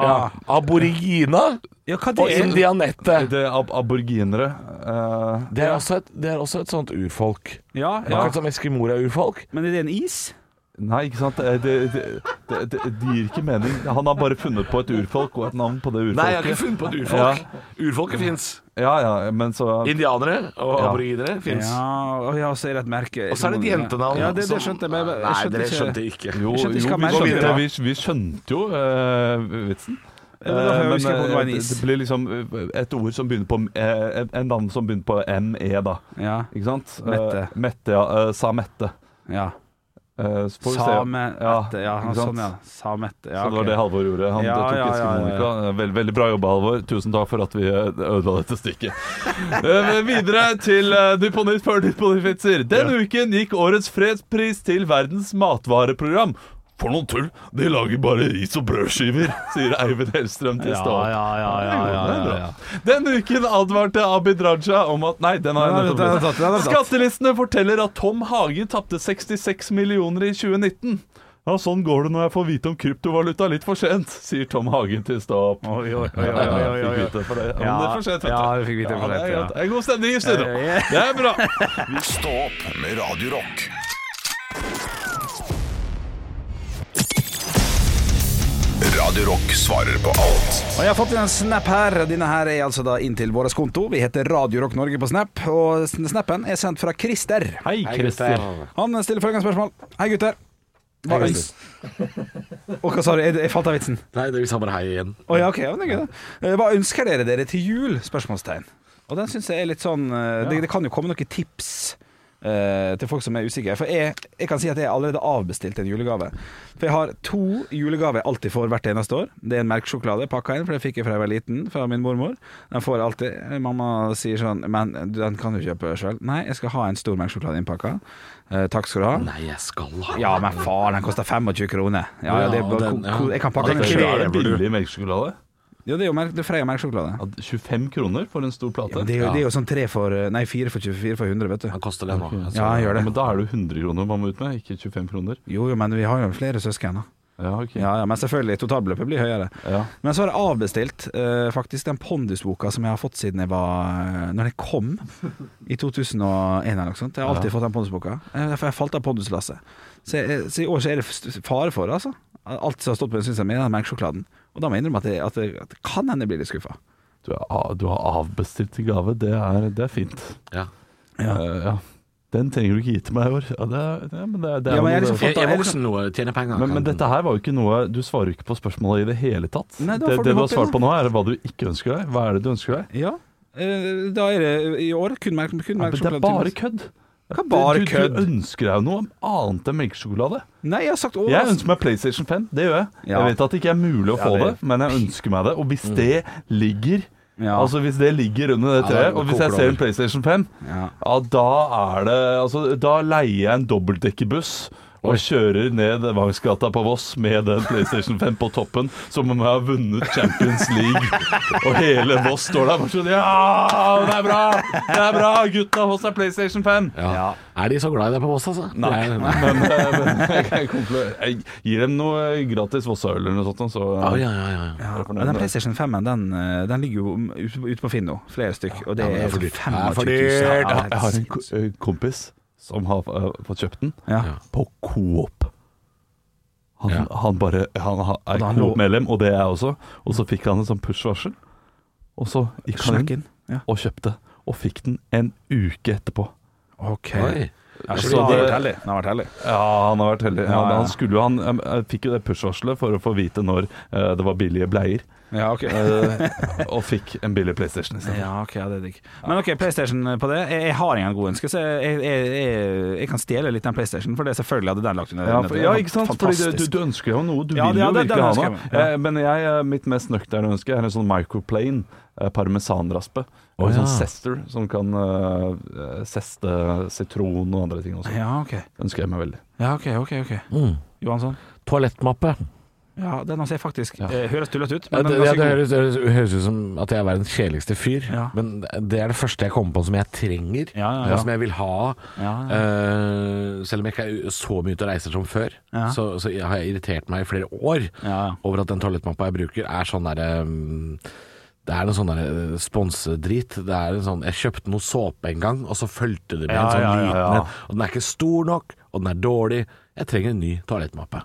Aborigina
Ja, hva
og Indianette.
det er ab aborginere. eh,
Det er, også et, det er også et sånt urfolk.
Ja, ja.
altså-
Akkurat som eskimoer er urfolk.
Men er det en is?
Nei, ikke sant? Eh, Det, det, det, det, det, det gir ikke mening. Han har bare funnet på et urfolk og et navn på det urfolket.
funnet på et
urfolk.
Urfolket fins.
Ja, ja, men så
Indianere og
Ja.
aboriginere fins.
Ja, og ja, så er det et merke.
Og så er det et jentenavn.
Ja, det, det
som-
skjønte jeg, men jeg,
Nei,
jeg
dere
skjønte ikke.
skjønte ikke.
Jo,
Jeg skjønte
jo vi,
ikke hva mer
skjønte,
skjønte.
vi, vi skjønte jo eh, vitsen.
Ja, men da
Eh,
husker jeg på at det var en
eh,
is.
det blir liksom eh, et ord som begynner på eh, et- En navn som begynner på ME, da.
Ja,
Ikke sant? Eh,
Mette.
Mette, ja. eh, sa Mette.
ja.
Eh, så får vi se.
Samete, ja.
ikke
Sånn,
sant?
ja. Samete. Ja,
Så det var
ok.
det Halvor gjorde. Han
Ja,
tok
ja, ja,
ikke
ja, ja.
Monica. Vel- veldig bra jobba, Halvor. Tusen takk for at vi eh, ødela dette stykket. Eh, videre til eh, Nytt på nytt før Nytt på nytt vitser. Denne uken gikk årets fredspris til Verdens matvareprogram. For noen tull! De lager bare ris og brødskiver, sier Eivind Hellstrøm til Stad. Denne uken advarte Abid Raja om at Nei, den har
Nei,
jeg
den har jeg
nettopp
tatt, den har jeg
lest.
tatt.
Skattelistene forteller at Tom Hage tapte 66 millioner i 2019. Ja, sånn går det når jeg får vite om kryptovaluta litt for sent, sier Tom Hagen til Stå-opp.
Oi, oi, oi,
Ja,
oi, oi, oi,
fikk
oi.
vite for det. Ja,
Ja,
men det er for sent, vet du.
ja, vi fikk vite for
det er
sent, ja.
greit. Det er god stemning i studio.
Ja, ja, ja.
Det er bra.
Stå opp med Radio Rock. Radio Rock svarer på alt.
Og jeg har fått inn en snap her. Denne her er altså da inn til vår konto. Vi heter Radio Rock Norge på snap, og sn- snappen er sendt fra Christer.
Hei, Christer.
Han stiller følgende spørsmål. Hei, gutter. Hva øns... Å, hva sa du? Jeg, jeg falt av vitsen.
Nei, det er vi sa bare hei igjen.
Å ja, ok. Ja, men det er gøy, da. Eh, Hva ønsker dere dere til jul? Spørsmålstegn. Og den syns jeg er litt sånn eh, det, det kan jo komme noen tips eh, til folk som er usikre. For jeg, jeg kan si at jeg har allerede avbestilt en julegave. For jeg har to julegaver jeg alltid får hvert eneste år. Det er en melkesjokolade pakka inn, for det fikk jeg fra jeg var liten, fra min mormor. Den får jeg alltid. Eh, Mamma sier sånn Men den kan du kjøpe sjøl. Nei, jeg skal ha en stor melkesjokolade innpakka. Eh, takk skal du ha.
Nei, jeg skal ha
Ja, men faen, den koster 25 kroner. Ja, ja, det,
Ja, den, ja.
Jeg kan pakke
Ja,
den
det
sjøl.
krever
Er det
du.
billig melkesjokolade?
Jo, det er jo melk- det er Freia melkesjokolade.
Ja, 25 kroner for en stor
Ja,
plate?
men det, er jo, det er jo sånn tre for Nei, fire for 24 for 100, vet
Han
du.
koster det nå. Jeg
Ja,
så-
jeg gjør
Ja,
det.
men da er det jo 100 kroner man må ut med, ikke 25 kroner.
Jo, jo, men vi har jo flere søsken. da.
Ja, ok.
Ja, ja, Men selvfølgelig, totalbeløpet blir høyere.
Ja.
Men så har jeg avbestilt eh, faktisk den Pondusboka som jeg har fått siden jeg var eh, Når jeg kom i 2001 eller noe sånt. Jeg har alltid fått den Pondusboka. Eh, For jeg falt av Ponduslasset. Så, jeg- eh, så i år så er det f- fare for det, altså. Alt som har stått på den, syns jeg, er den melkesjokoladen. Og da må jeg innrømme at, jeg, at, jeg, at kan hende jeg blir litt skuffa.
Du, er, du har avbestilt gave, det er, det er fint.
Ja.
Eh, ja. Den trenger du ikke gi til meg i år. Ja, det er, ja, men det er, det er
Ja, men jeg
jo-
liksom-
Jeg jeg er voksen nå, tjener penger.
men, men dette her var jo ikke noe Du svarer jo ikke på spørsmålet i det hele tatt.
Nei, da
det,
får du
det du har
hoppe inn,
svart på nå, er hva du ikke ønsker deg. Hva er det du ønsker deg?
Ja. Eh, Da er det i år kun melk kun
Ja,
melk
men det er bare kødd.
Hva bare
du,
kødd?
Du ønsker deg jo noe annet enn melkesjokolade.
Nei, jeg har sagt år.
Jeg
altså.
ønsker meg PlayStation 5. Det gjør jeg.
Ja.
Jeg vet at det ikke er mulig å
Ja,
få det,
det-
men jeg ønsker meg det. Og hvis det ligger
Ja.
Altså Hvis det ligger under det
Ja, da
treet, og hvis
koker
jeg
det
ser en
over.
PlayStation 5,
Ja.
ja, da er det Altså, da leier jeg en dobbeltdekkerbuss. Og kjører ned Vangsgata på Voss med den PlayStation 5 på toppen, som om jeg har vunnet Champions League. Og hele Voss står der bare sånn Ja, det er bra! Det er bra! Gutta hos deg PlayStation 5!
Ja. Er de så glad i deg på Voss, altså?
Nei,
Nei, nei.
men, men jeg, kan kompl- jeg gir dem noe gratis Vossa-øl eller noe sånt, så eh,
Å, ja, ja, ja, ja.
Ja, og den PlayStation 5-en den, eh, den ligger jo ute på- ute på Finn nå, flere stykk. Og det
Ja, men det
er
er for dyrt.
25
Det er for
000.
dyrt.
Ja,
Jeg har en ko- eh, kompis som har eh, fått kjøpt den
Ja.
på Coop. Han,
Ja.
han bare han, ha- er
da han lå-
Coop-medlem, og det er jeg også. Og så fikk han en sånn push-varsel, og så gikk han
Snakk
inn
inn. Ja.
og kjøpte. Og fikk den en uke etterpå.
OK.
Oi.
Ja, så
så
den har
det-
vært heldig. Den har vært heldig.
Ja, han har vært heldig.
Ja,
han,
ja.
han, skulle, jo- han eh, fikk jo det push-varselet for å få vite når eh, det var billige bleier.
Ja, ok.
Eh, og fikk en billig PlayStation istedenfor.
Ja, ok, ja, det er digg. Men ok, PlayStation på det. Jeg, jeg har ingen god ønske, så jeg, jeg, jeg, jeg kan stjele litt den PlayStation, for det er selvfølgelig hadde den lagt under.
Ja,
under
for,
Eh, det.
ja, ikke sant? Fordi du, du,
Fantastisk.
du ønsker jo noe. Du
Ja,
vil
ja,
jo
det- det
virkelig ha
ønsker jeg
noe.
meg, ja.
Eh, Men jeg, eh, mitt mest nøkterne ønske er en sånn microplane eh, parmesanraspe.
Å,
en
ja.
sånn sester som kan eh, eh, seste sitron og andre ting også.
Ja, ok.
Ønsker jeg meg veldig.
Ja, ok, ok, ok.
Mm.
Johansson?
Toalettmappe.
Ja, den har jeg faktisk.
Ja.
eh, Høres tullete ut,
Ja,
men
det,
den
ja,
er
det,
ganske god.
høres, det høres- det høres ut som at jeg er verdens kjedeligste fyr,
Ja.
men det er det første jeg kommer på som jeg trenger,
Ja, ja,
og
ja.
som jeg vil ha.
Ja, ja.
Eh, selv om jeg ikke er så mye ute og reiser som før,
Ja.
så, så jeg har jeg irritert meg i flere år
Ja, ja.
over at den toalettmappa jeg bruker, er sånn derre mm, det er noe sånn der, eh, sponsedrit. Det er en sånn, jeg kjøpte noe såpe en gang, og så fulgte det med
Ja,
en sånn
ja,
liten
ja, ja.
en. Og den er ikke stor nok, og den er dårlig. Jeg trenger en ny toalettmappe.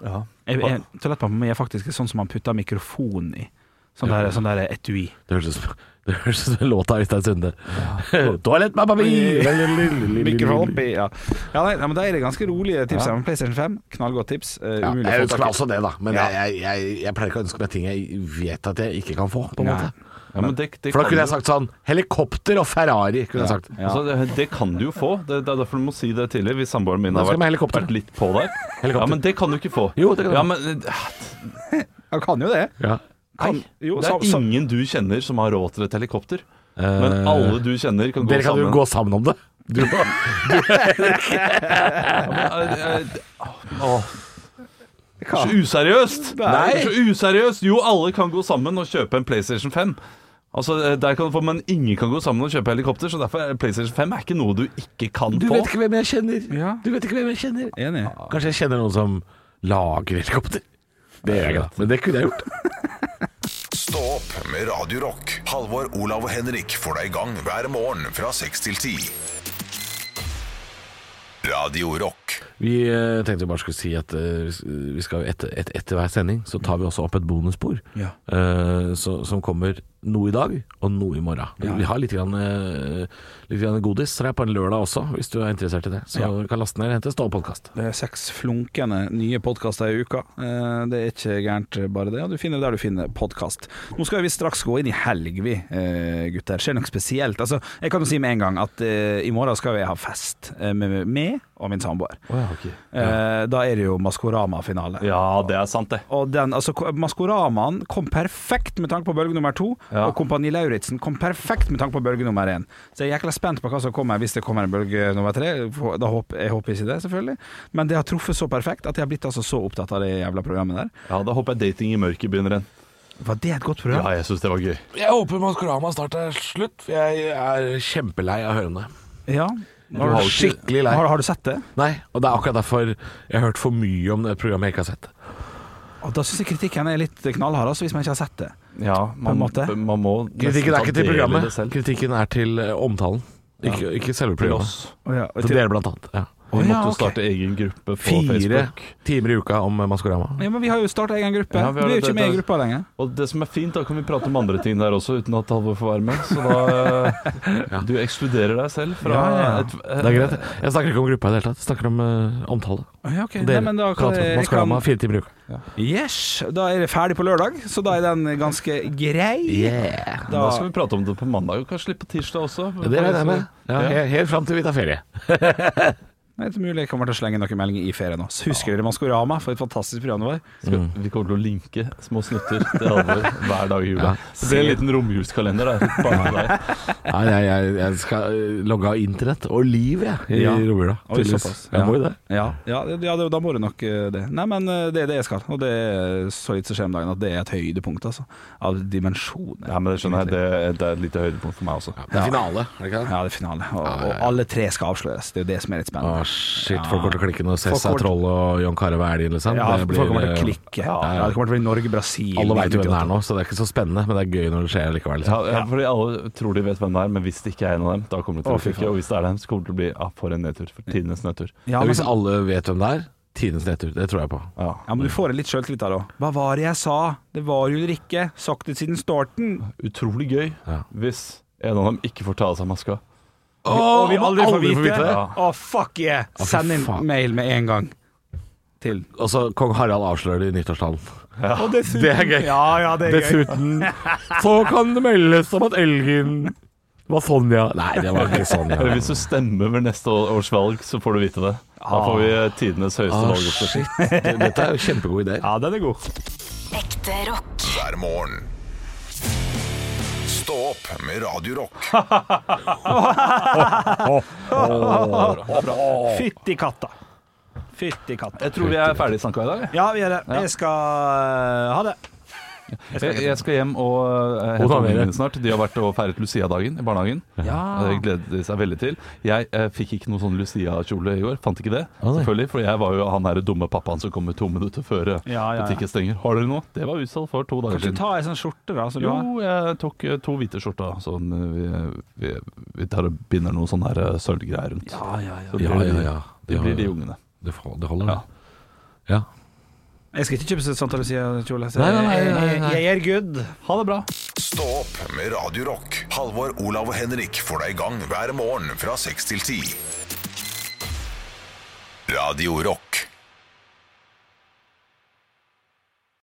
Jeg- jeg- Toalettpappa mi er faktisk sånn som man putter mikrofonen i. Sånn der, sånn der etui.
Det høres ut som det høres ut som låta av Øystein Sunde. Toalettmappa mi!
Mikrofon oppi, ja. ja nei, nei, men da er det ganske rolige tips. her, men PlayStation 5, knallgodt tips. eh,
Ja,
umulig
jeg
å få tak
ønsker
i.
meg også det, da, men
Ja.
jeg, jeg, jeg pleier ikke å ønske meg ting jeg vet at jeg ikke kan få. På en
Nei.
måte.
Ja, men det, det,
For da
kan
kunne jeg
du,
sagt sånn Helikopter og Ferrari, kunne jeg sagt.
altså, det, det kan du jo få. Det, det er derfor du må si det tidlig, hvis samboeren min
Da
har
skal jeg med
vært,
helikopter.
vært litt på der.
Helikopter.
Ja, men det kan du ikke få.
Jo, det kan du.
ja, men, eh,
Ja, kan jo det.
Ja.
Kan, jo,
Det
sa-
er
sa-
ingen du kjenner som har råd til et helikopter. Men alle du kjenner, kan gå
Eh, Dere kan jo
sammen.
gå sammen om det. Du,
Eh, eh, Åh,
Hva?
Så useriøst!
Nei.
Så useriøst! Jo, alle kan gå sammen og kjøpe en PlayStation 5. Altså, eh, der kan du få, Men ingen kan gå sammen og kjøpe helikopter, så derfor er PlayStation 5 er ikke noe du ikke kan
du
få.
vet ikke hvem jeg kjenner.
Ja.
Du vet ikke hvem jeg kjenner. Ah,
Enig.
Kanskje jeg kjenner noen som lager helikopter. Det gjør jeg ikke, da. men det kunne jeg gjort.
Stå opp med Radio Rock. Halvor, Olav og Henrik får deg i gang hver morgen fra 6 til 10. Radio Rock.
Vi eh, tenkte vi bare skulle si at eh, vi s- vi skal jo etter, et- etter hver sending så tar vi også opp et bonusspor
Ja.
eh, så, som kommer noe i dag og noe i morgen. Vi, vi har litt, grann, eh, litt grann godis her på en lørdag også, hvis du er interessert i det. Så
Ja.
du kan laste ned og hente Stålpodkast.
Det er seks flunkende nye podkaster i uka. Eh, Det er ikke gærent, bare det. Og du finner det der du finner podkast. Nå skal vi straks gå inn i helg, vi eh, gutter. Skjer noe spesielt. Altså, jeg kan jo si med en gang at eh, i morgen skal jeg ha fest eh, med meg og min samboer. Eh, Da er det jo Maskorama-finale.
Ja, det er sant, det.
Og den, altså ko- Maskoramaen kom perfekt med tanke på bølge nummer to,
Ja.
og Kompani Lauritzen kom perfekt med tanke på bølge nummer én. Så jeg er jækla spent på hva som kommer hvis det kommer en bølge nummer tre. For- Da håper, jeg håper ikke det, selvfølgelig. Men det har truffet så perfekt at jeg har blitt altså så opptatt av det jævla programmet der.
Ja, Da håper jeg dating i mørket begynner igjen.
Var det et godt
Ja,
program?
jeg syns det var gøy.
Jeg håper Maskorama snart er slutt, for jeg er kjempelei av å høre om det.
Ja.
har
Har,
jo
du-
ikke-
Skikkelig lei.
har, har du sett det?
Nei, og det er akkurat derfor jeg har hørt for mye om det programmet jeg ikke har sett.
Og da syns jeg kritikken er litt knallhard, altså, hvis man ikke har sett det.
Ja, man,
måte.
man må
Kritikken er
nesten
ikke
ta
til
del i
programmet,
det selv.
kritikken er til eh, omtalen. Ikke, ikke selve
Til
programmet.
oss.
Å ja,
Til
til-
dere, blant annet. Ja.
Vi
ja,
måtte jo
ok.
starte egen gruppe på
Fire
Facebook.
timer i uka om eh, Maskorama.
Ja, men vi har jo starta egen gruppe.
Ja, vi
vi,
har
er jo
det-
ikke med i
det-
gruppa lenger.
Og det som er fint, da kan vi prate om andre ting der også, uten at Halvor får være med. Så da eh, Du ekskluderer deg selv fra
Ja, ja, ja.
et
Det er greit. Jeg snakker ikke om gruppa i det hele tatt. Jeg snakker om eh, omtale.
Ja, ok.
Dere
Nei, men da kan,
prater om
jeg kan,
Maskorama fire timer i uka.
yes, da er det ferdig på lørdag, så da er den ganske grei.
Yeah.
Da skal vi prate om det på mandag, og kanskje litt på tirsdag også.
Det regner jeg med. Ja,
Ja.
he- Helt fram til vi tar ferie.
Det er mulig jeg kommer til å slenge noen meldinger i ferien også. Husker dere Maskorama? For et fantastisk program det var.
Skal, vi kommer til å linke små snutter til Halvor hver dag i jula.
Ja.
Det blir en liten romjulskalender, da. Bare til deg.
Nei, jeg, jeg, jeg skal eh, logge av internett og liv, jeg, i
Ja.
romjula.
Oi,
Tydeligvis.
såpass.
Jeg må jo det.
Ja, ja, det- ja det, da må du nok eh, det. Nei, men eh, det er det jeg skal. Og det er så litt som skjer om dagen at det er et høydepunkt, altså. Av dimensjoner.
Ja, men det skjønner jeg. Det, det er et lite høydepunkt for meg også.
Det er finale, er det ikke det?
Ja, det er finale. Og, og alle tre skal avsløres. Det er jo det som er litt
Å,
spennende.
shit. Folk kommer til å klikke når
Folk
Cessa
kommer til-
Troll og John Carew er elgen, liksom.
Ja,
Det blir,
folk kommer til
eh,
å klikke. Ja,
ja.
det kommer til å bli Norge-Brasil.
Alle veit jo hvem det er nå, så det er ikke så spennende, men det er gøy når det skjer likevel.
Ja,
Liksom.
ja, fordi Alle tror de vet hvem det er, men hvis det ikke er en av dem, da kommer det til
Å,
å
fy
klikke.
faen.
Og hvis det er dem, så kommer det til å bli ja, for en nedtur. For tidenes nedtur.
Ja,
men
men,
hvis alle vet hvem det er, tidenes nedtur. Det tror jeg på.
Ja.
ja, men du får litt sjøltillit der òg. Hva var det jeg sa? Det var jo Ulrikke. Sagt det siden starten.
Utrolig gøy
Ja.
hvis en av dem ikke får ta av seg maska.
og vi aldri får vite. det.
Ja.
Å, fuck yeah!
fy
Send inn
faen.
mail med en gang. Til.
Og så kong Harald avslører det i nyttårstalen.
Og dessuten,
Det er gøy.
Ja, ja, det er gøy.
Dessuten så kan det meldes om at elgen var Sonja. Nei, det var ikke Sonja.
Eller hvis du stemmer ved neste år- års valg, så får du vite det. Da får vi eh, tidenes høyeste
Å,
valgoppslutning.
Ah, shit. Det- Dette er jo kjempegode ideer.
Ja, den er god.
Ekte rock.
hver morgen. Stå opp med Radio Rock.
Fytti katta. Fytti katta.
Jeg tror vi er ferdig snakka i dag. jeg.
Ja, vi gjør det. Jeg skal eh, ha det.
Jeg, jeg skal hjem og
Og
eh, hente
ta med
ungene
det.
mine snart. De har vært og feiret Lucia-dagen i barnehagen.
Ja.
Det gleder de seg veldig til. Jeg eh, fikk ikke noen sånn Lucia-kjole i år. Fant ikke det,
Å, nei.
selvfølgelig. For jeg var jo han derre dumme pappaen som kommer to minutter før eh,
Ja, ja, ja.
butikken stenger. Har dere noe? Det var utsolgt for to dager
Kanskje
siden.
ta ei sånn skjorte, da. Så du
Jo,
har.
jeg tok eh, to hvite skjorter. Sånn, eh, vi, vi, vi tar og binder noen sånne her, eh, sølvgreier rundt. Så blir
Ja,
det-
ja, ja.
Det blir de
Ja,
ungene.
Det får- det holder, det. Ja.
Jeg skal ikke kjøpe sånn, Santa Lucia-kjole. så
Nei, nei, nei,
jeg-
nei,
jeg-
nei.
Jeg er good.
Ha det bra.
Stå opp med Radio Rock. Halvor, Olav og Henrik får deg i gang hver morgen fra 6 til 10. Radio Rock.